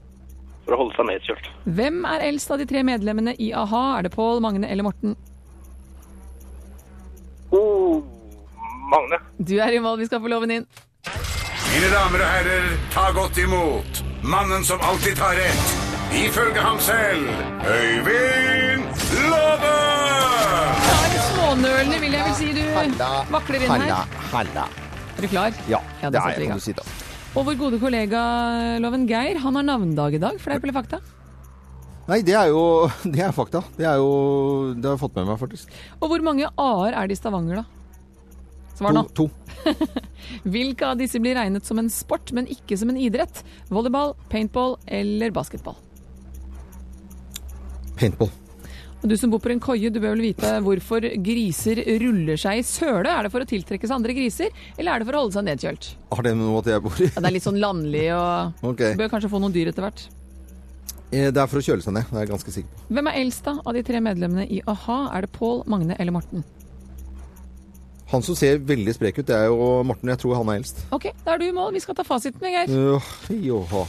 For å holde seg nedkjølt. Hvem er eldst av de tre medlemmene i a-ha? Er det Pål, Magne eller Morten? Oh, Magne. Du er i mål, vi skal få loven inn. Mine damer og herrer, ta godt imot mannen som alltid tar rett. Ifølge ham selv Øyvind Låve! Da er det smånølende, vil jeg vel si. Du vakler inn Halla, her. halla. Er du klar? Ja, Ja, da det setter er vi i jeg, gang. må du si da. Og vår gode kollega eh, Loven Geir, han har navnedag i dag. Fleip eller fakta? Nei, det er jo det er fakta. Det er jo Det har jeg fått med meg, faktisk. Og hvor mange a-er er det i Stavanger, da? Svar nå. To. Hvilke av disse blir regnet som en sport, men ikke som en idrett? Volleyball, paintball eller basketball? Paintball. Og du som bor på en koie, du bør vel vite hvorfor griser ruller seg i søle? Er det for å tiltrekke seg andre griser, eller er det for å holde seg nedkjølt? Har det med noe at jeg bor i? Ja, det er litt sånn landlig og Ok. Bør kanskje få noen dyr etter hvert. Eh, Det er for å kjøle seg ned, det er jeg ganske sikker på. Hvem er eldst da av de tre medlemmene i a-ha? Er det Pål, Magne eller Morten? Han som ser veldig sprek ut, det er jo Morten. Jeg tror han er eldst. Ok, da er du i mål. Vi skal ta fasiten med Geir. Øh, joha.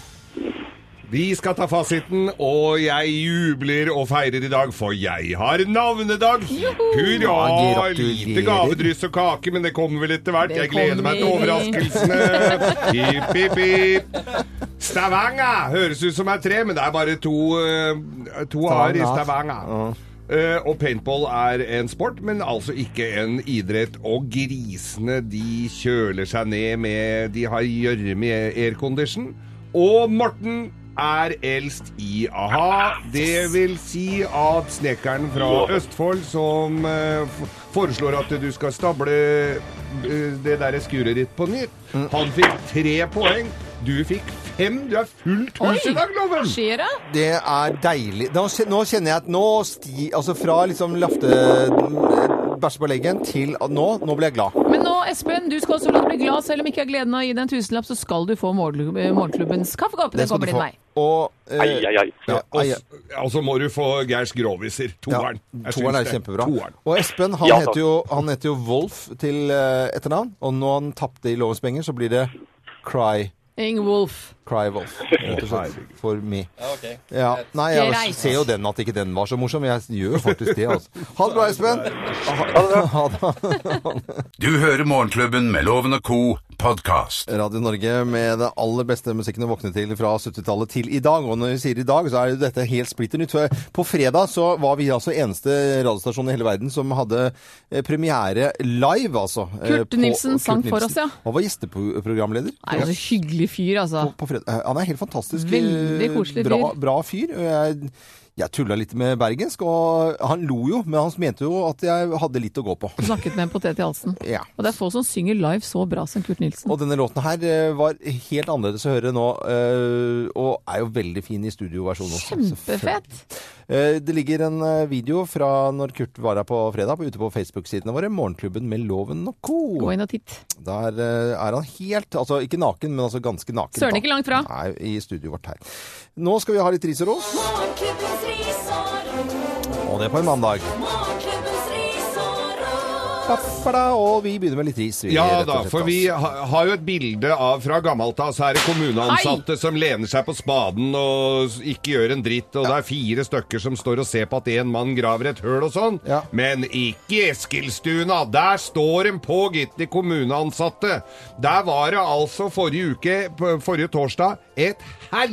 Vi skal ta fasiten, og jeg jubler og feirer i dag, for jeg har navnedag! Ja, Hurra! gratulerer. Lite gavedryss og kake, men det kommer vel etter hvert. Det Jeg gleder meg til kommer. overraskelsene. Hipp, hipp, hipp. Stavanger høres ut som er tre, men det er bare to, eh, to a-er i Stavanger. Eh, og paintball er en sport, men altså ikke en idrett. Og grisene de kjøler seg ned med De har gjørme i aircondition. Og Morten er eldst i a-ha. Det vil si at snekkeren fra Østfold som eh, f- foreslår at du skal stable eh, det derre skuret ditt på nytt, han fikk tre poeng. Du fikk fem. Du er fullt hus i dag, Loven! Skjer det? Det er deilig. Nå, kjen- nå kjenner jeg at nå sti... Altså fra liksom lafte... Bæsje på leggen til at nå, nå blir jeg glad. Men nå, Espen, du skal også la deg bli glad. Selv om ikke jeg har gleden av å gi deg en tusenlapp, så skal du få morgenklubb- eh, morgenklubbens kaffekopp. Den skal du kommer din få. vei. Og, eh, Ai, ai, ai. Ja, Og ai, s- og så Altså, må du få Geirs groviser. Toeren. Jeg syns Toeren er det. kjempebra. Toeren. Og Espen han, Ja, takk. heter jo, han heter jo Wolf til eh, etternavn, og når han tapte i Lovens penger, så blir det Cry, Ing Wolf. cry Wolf. rett og slett, For me. Ja, ok. Ja, Nei, jeg Greit. ser jo den at ikke den var så morsom. Jeg gjør jo faktisk det, altså. Ha det bra, Espen. Ha det. Du hører Morgenklubben med Loven og Co. podkast. Radio Norge med det aller beste musikken å våkne til fra 70-tallet til i dag. Og når vi sier i dag, så er jo dette helt splitter nytt. For På fredag så var vi altså eneste radiostasjon i hele verden som hadde eh, premiere live, altså. eh, Kurt på- Nilsen sang Kurt for oss, ja. Han var gjesteprogramleder. Nei, altså, hyggelig fyr, altså. På fredag. Eh, Han er helt fantastisk. eh, Veldig koselig fyr. Bra, bra fyr. og Jeg, jeg tulla litt med bergensk, og han lo jo, men han mente jo at jeg hadde litt å gå på. Snakket med en potet i halsen. Ja. Og det er få som synger live så bra som Kurt Nilsen. Og denne låten her eh, var helt annerledes å høre nå, eh, og er jo veldig fin i studioversjonen også. Kjempefett! Eh, Det ligger en eh, video fra når Kurt var her på fredag, på, ute på Facebook-sidene våre, Morgenklubben med Loven og co. Gå inn og titt. Der eh, er han helt, altså ikke naken, men altså ganske naken. Søren da. ikke langt fra. Nei, i studioet vårt her. Nå skal vi ha litt ris og ros, Morgenklubbens ris og ros. og det på en mandag. Morgenklubbens ris og ros. Pappada, og vi begynner med litt ris. vi, rett Ja og da, slett, for altså. vi ha, har jo et bilde av fra gammelt av, så er det kommuneansatte som lener seg på spaden og s- ikke gjør en dritt, og det er fire stykker som står og ser på at en mann graver et høl og sånn. Men ikke i Eskilstuna! Der står en på, gitt, de kommuneansatte. Der var det altså forrige uke, p- forrige torsdag, et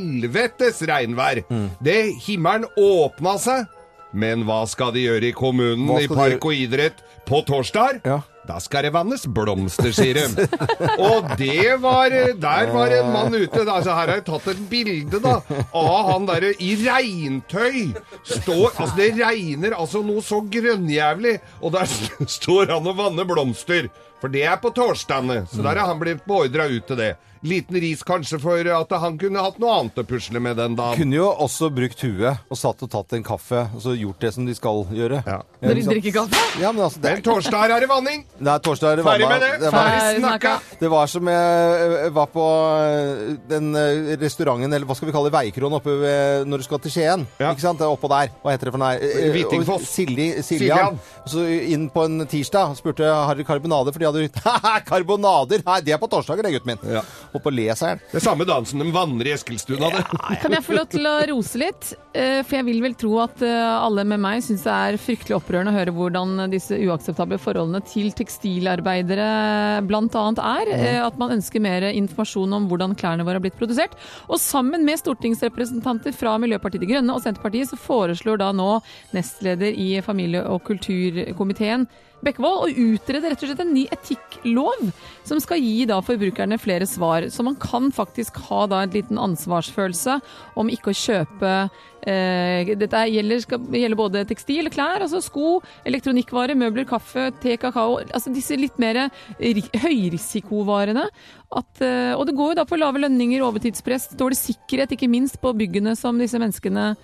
helvetes regnvær. Mm. Det himmelen åpna seg. Men hva skal de gjøre i kommunen, Hva i skal de park og idrett, på torsdag? Da skal det vannes blomster, sier de. Og det var Der var en mann ute. da. Altså, her har jeg tatt et bilde, da, av han derre i regntøy. Står Altså, det regner altså noe så grønnjævlig, og der st- står han og vanner blomster. For det er på torsdagene, så der er han blitt beordra ut til det. Liten ris kanskje for at han kunne hatt noe annet å pusle med den dagen. Kunne jo også brukt huet og satt og tatt en kaffe og så gjort det som de skal gjøre. Ja. Når de ikke sant? drikker kaffe? Ja, men altså, det er Men torsdager er det vanning! Nei, torsdag er det Ferdig vannet. med det. var- Ferdig snakka. Det var som jeg var på eh, den eh, restauranten, eller hva skal vi kalle det, Veikron oppe ved, når du skal til Skien. Ikke sant? Det er Oppå der. Hva heter det for noe? Eh, og Hvitingfoss. Silje, Siljan. Siljan. Så inn på en tirsdag og spurte har dere karbonader, for de hadde Haha, karbonader! Nei, det er på torsdager, det, gutten min. Og på leseren. Det er samme dansen de vanner i Eskilstuna, det. Kan jeg få lov til å rose litt? Eh, For jeg vil vel tro at eh, alle med meg syns det er fryktelig opprørende å høre hvordan disse uakseptable forholdene til tekstilarbeidere bl.a. er. Eh, At man ønsker mer informasjon om hvordan klærne våre har blitt produsert. Og sammen med stortingsrepresentanter fra Miljøpartiet De Grønne og Senterpartiet så foreslår da nå nestleder i familie- og kulturkomiteen Bekkevold å utrede rett og slett en ny etikklov som skal gi da forbrukerne flere svar. Så man kan faktisk ha da en liten ansvarsfølelse om ikke å kjøpe eh, Dette er- gjelder, skal, gjelder både tekstil, klær, altså sko, elektronikkvarer, møbler, kaffe, te, kakao Altså disse litt mer ri- høyrisikovarene. At, eh, og det går jo da på lave lønninger, overtidspress, dårlig sikkerhet, ikke minst på byggene som disse menneskene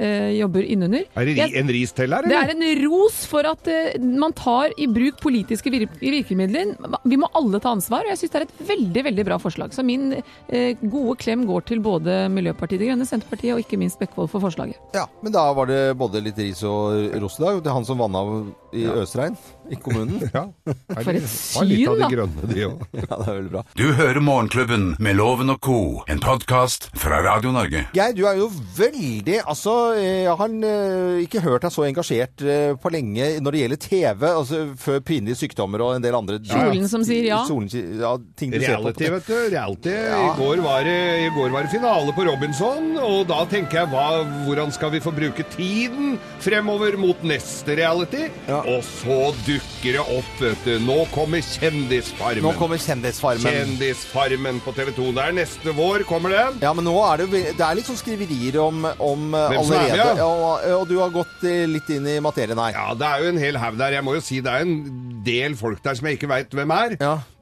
eh, jobber innunder. Er det ri, Jeg- en risteller, det eller? er en ros for at eh, man tar i bruk politiske vir virkemidler. Vi må alle ta ansvar, og jeg syns det er et veldig veldig bra forslag. Så min eh, gode klem går til både Miljøpartiet De Grønne, Senterpartiet og ikke minst Bekkevold for forslaget. Ja, men da var det både litt ris og ros i dag. Det er han som vanna i Øsregn i kommunen. For et Var litt av syn, de da. grønne, de òg. ja, det er veldig bra. Du hører Morgenklubben med Loven og co., en podkast fra Radio Norge. Geir, du er jo veldig Altså, eh, jeg har eh, ikke hørt deg så engasjert eh, på lenge når det gjelder TV, altså før pinlige sykdommer og en del andre Solen som sier ja. Solen, sier- ja ting du Reality, ser på. vet du. Reality. I, går var det, I går var det finale på Robinson, og da tenker jeg hva, hvordan skal vi få bruke tiden fremover mot neste reality? Og så dukker det opp, vet du. Nå kommer Kjendisfarmen. Nå kommer Kjendisfarmen. Kjendisfarmen på TV 2. Det er neste vår, kommer den. Ja, men nå er det, jo ve- det er litt sånn skriverier om, om eh, Hvem som er med, allerede. ja. og, og du har gått eh, litt inn i materien her. Ja, det er jo en hel haug der. Jeg må jo si det er en del folk der som jeg ikke veit hvem er.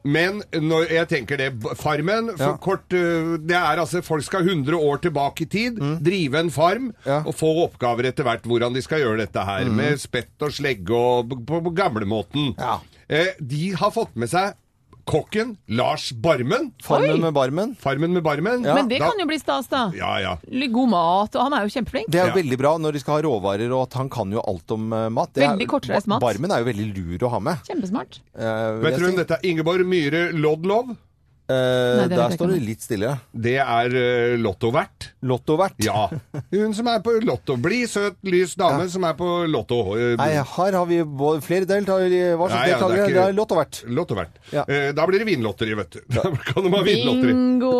Men når jeg tenker det b- Farmen for Ja. kort øh, Det er altså Folk skal 100 år tilbake i tid, drive en farm og få oppgaver etter hvert hvordan de skal gjøre dette her. Med spett og slegge og b- på, på gamlemåten. Eh, de har fått med seg kokken Lars Barmen. Farmen Oi. med Barmen. Farmen med Barmen. Men det kan jo bli stas, da. Ja, ja. Litt God mat, og han er jo kjempeflink. Det er jo veldig bra når de skal ha råvarer, og at han kan jo alt om eh, mat. Det Veldig er, kortreist mat. Barmen er jo veldig lur å ha med. Eh, Kjempesmart. Vet du hvem dette er? Ingeborg Myhre Lodlov? Eh, Nei, det der vet jeg står ikke. det litt stille. Det er eh, lottovert. Lottovert? Ja. Hun som er på Lotto. Blid, søt, lys dame som er på Lotto. eh, Nei, her har vi både- flere deltakere. Hva slags Nei, ja, det er deltakere? ikke- Det er lottovert. Lottovert. Eh, Da blir det vinlotteri, vet du. Da kan de ha vinlotteri. Bingo!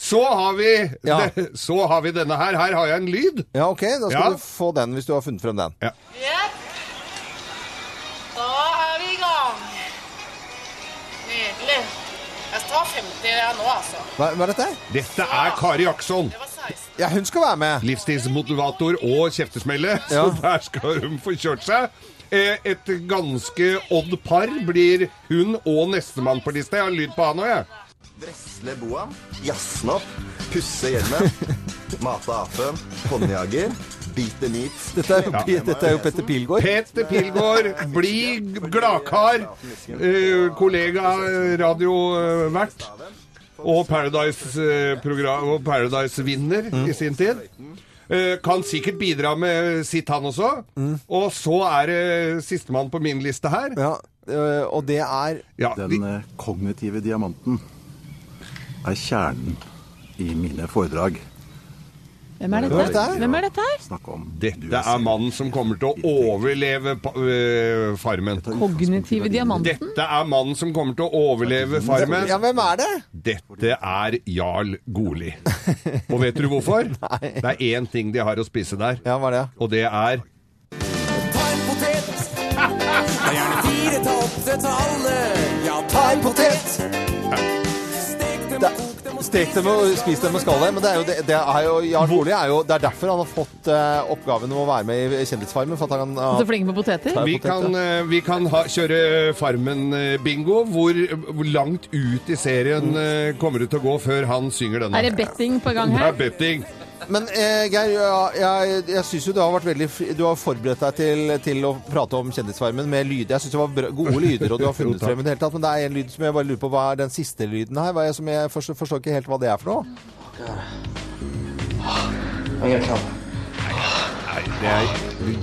Så har vi Ja. Så har vi denne her. Her har jeg en lyd. Ja, OK. Da skal Ja. du få den hvis du har funnet frem den. Jepp. Da er vi i gang. Nydelig. Jeg tar 50 jeg nå, altså. Hva, hva er dette? Dette er Kari Jaksson. Ja, hun skal være med. Livstidsmotivator og kjeftesmelle. Så der skal hun få kjørt seg. Eh, Et ganske odd par blir hun og nestemann på lista. Jeg har lyd på han òg, jeg. Dressle boa, jazzen opp, pusse hjelmen, mate apen, håndjager, bite nit. Dette er jo, dette er jo Petter Pilgaard. Petter Pilgaard, blid gladkar, eh, kollega eh, radiovert og Paradise-vinner Paradise vinner i sin tid. Eh, Kan sikkert bidra med sitt, han også. Og så er det sistemann på min liste her. øh, og det er Den eh, kognitive diamanten er kjernen i mine foredrag. Hvem Hvem er er dette? dette? Hvem er dette her? Snakk om Dette er mannen som kommer til å overleve pa- øh, Farmen. Kognitive diamanten. Dette er mannen som kommer til å overleve Farmen. Ja, hvem er det? Dette er Jarl Goli. Og vet du hvorfor? Det er én ting de har å spise der, og det er Ta en potet. Ta gjerne fire til å oppdrette alle. Ja, ta en potet. Stek dem, Det- kok dem og Stek dem og spis dem med skallet. Men det er jo, det, det er jo Jarl Bolig er jo Det er derfor han har fått eh, oppgaven om å være med i Kjendisfarmen. For at han Altså, kan Så flinke med poteter. Vi kan, eh, vi kan ha, kjøre Farmen-bingo. Hvor, hvor langt ut i serien eh, kommer du til å gå før han synger denne? Er det betting på gang Det her? er betting. Men eh, Geir, ja, jeg, jeg syns jo du har vært veldig fri- Du har forberedt deg til, til å prate om Kjendisfarmen med lyd. Jeg syns det var bra, gode lyder, og du har Jo, funnet takk. frem i det hele tatt. Men det er en lyd som jeg bare lurer på hva er den siste lyden her? Hva er, som jeg forstår, forstår ikke helt hva det er for noe. Nei, det er,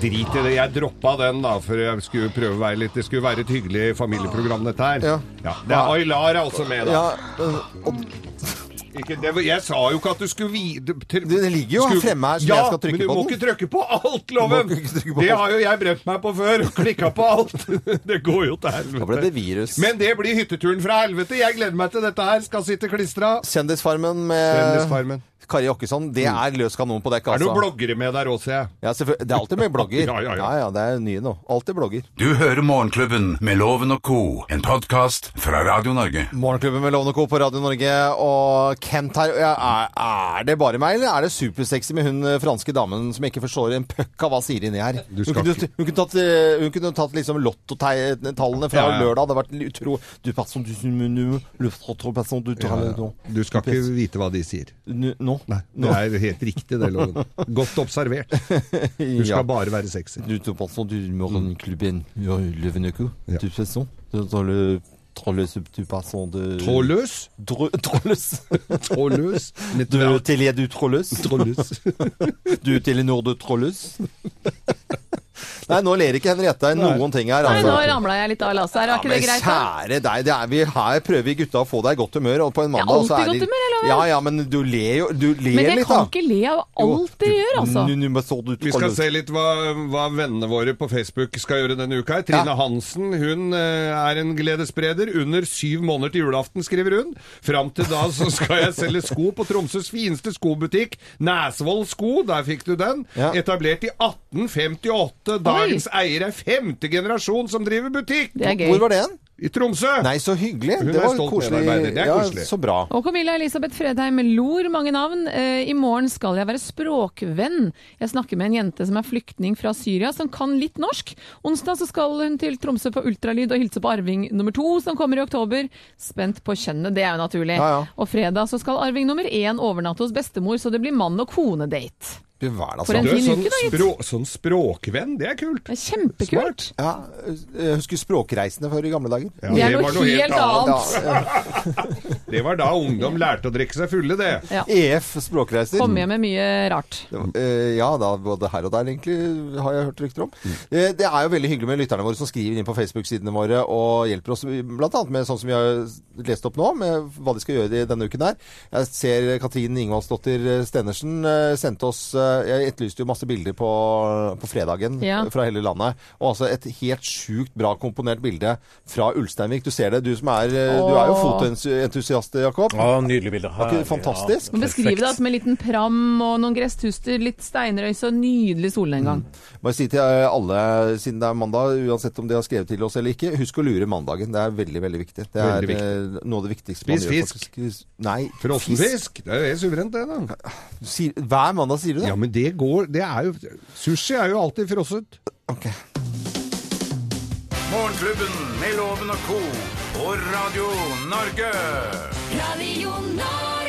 drit i det. Jeg droppa den, da, for jeg skulle prøve å være litt Det skulle være et hyggelig familieprogram, dette her. Ja. det er Aylar er også med, da. Ikke, det, var- jeg sa jo ikke at du skulle vite Det ligger jo fremme her som jeg skal trykke men du på må den. ikke trykke på alt, Loven! Du må ikke trykke på det alt. har jo jeg brent meg på før, og klikka på alt. Det går jo til helvete. Da ble det virus. Men det blir hytteturen fra helvete. Jeg gleder meg til dette her skal sitte klistra. Kjendisfarmen med Kjendisfarmen. Kari Jakkesson. Det er løs kanon på dekk, Er det Eh, altså. noen bloggere med der òg, ser jeg? Ja, selvfølgelig. Det er alltid mye blogger. Ja, ja, ja. det er nye nå. Alltid blogger. Du hører Morgenklubben med Loven og Co., en podkast fra Radio Norge. Morgenklubben med Lovende Co. på Radio Norge og Kent her. Ja, Er, er det bare meg, eller er det supersexy med hun eh, franske damen som ikke forstår en pøkk av hva sier inni her? Hun skal kunne, hun kunne tatt, eh, hun kunne tatt liksom lottotallene fra Ja, ja. lørdag. Det hadde vært utro... Du passer du du- du- du- du passer du Ja, ja. Du skal ikke vite hva de sier. Nå? Nei, Det er helt riktig, det, Loven. Godt observert. Du skal bare være sexy. Du te pensons du morgenklubben Løvende Co. Du passer du tar le Trådløs du passer de Trådløs? Drø- Trådløs. Trådløs? Du Telia du trådløs? Trådløs. du Telenor du trådløs? Nei, nå ler ikke Henriette i noen ting her. Nei, Altså. nå ramla jeg litt av lasset her. Er Ja, ikke det men greit? da? Kjære deg, det er vi her prøver vi gutta å få deg i godt humør, og på en Jeg er mandag så alltid i er godt humør, jeg lover. Ja, ja, men du ler jo Du ler Men jeg litt, da. kan ikke le av alt dere gjør, altså. Nu- nu- men så du Vi skal trådløs. se litt hva, hva vennene våre på Facebook skal gjøre denne uka. her. Trine Hansen hun eh, er en gledesspreder. Under syv måneder til julaften, skriver hun. Fram til da så skal jeg selge sko på Tromsøs fineste skobutikk, Næsvoll Sko. Der fikk du den. Etablert i 1858. Dagens eier er femte generasjon som driver butikk. Det er gøy. Hvor var det hen? I Tromsø. Nei, så hyggelig. Hun Det er var stolt koselig. medarbeider. Det er Ja, koselig. så bra. Og Camilla Elisabeth Fredheim Lor, mange navn. Eh, I morgen skal jeg være språkvenn. Jeg snakker med en jente som er flyktning fra Syria, som kan litt norsk. Onsdag så skal hun til Tromsø på ultralyd og hilse på arving nummer to, som kommer i oktober. Spent på kjønnet, det er jo naturlig. Ja, ja. Og fredag så skal arving nummer én overnatte hos bestemor, så det blir mann- og konedate. Du verden, For en Du er fin sånn, uke, da, gitt. språ- sånn språkvenn, det er kult. Det er kjempekult. Ja, jeg husker Språkreisende før i gamle dager. Ja, Det er det noe var noe helt helt annet. Ja, ja. Det var da ungdom lærte å drikke seg fulle, det. Ja. EF Språkreiser. Kom hjem med mye rart. Det var- eh, ja, da, både her og der egentlig har jeg hørt rykter om. Eh, det er jo veldig hyggelig med lytterne våre som skriver inn på Facebook-sidene våre og hjelper oss bl.a. med sånn som vi har lest opp nå, med hva de skal gjøre i denne uken her. Jeg ser Katrin Ingvaldsdottir Stenersen eh, sendte oss eh, Jeg etterlyste jo masse bilder på, på fredagen Ja. eh, fra hele landet. Og altså et helt sjukt bra komponert bilde fra Ulsteinvik. Du ser det, du som er, eh, du er jo Åh. fotoentusiast, Jakob. Å, nydelig bilde. Var ikke det fantastisk? Men Beskriv det altså, med en liten pram og noen gresstuster, litt steinrøys og nydelig solnedgang. Bare si til eh, alle, siden det er mandag, uansett om de har skrevet til oss eller ikke, husk å lure mandagen. Det er veldig, veldig viktig. Det er Veldig viktig. eh, noe av det viktigste Spis fisk. faktisk. Nei. Frossen fisk. Det er jo helt suverent, det, da. hver mandag sier du det? Ja, men det går Det er jo Sushi er jo alltid frosset. Morgenklubben med Loven og Co. på Radio Norge. Radio Norge.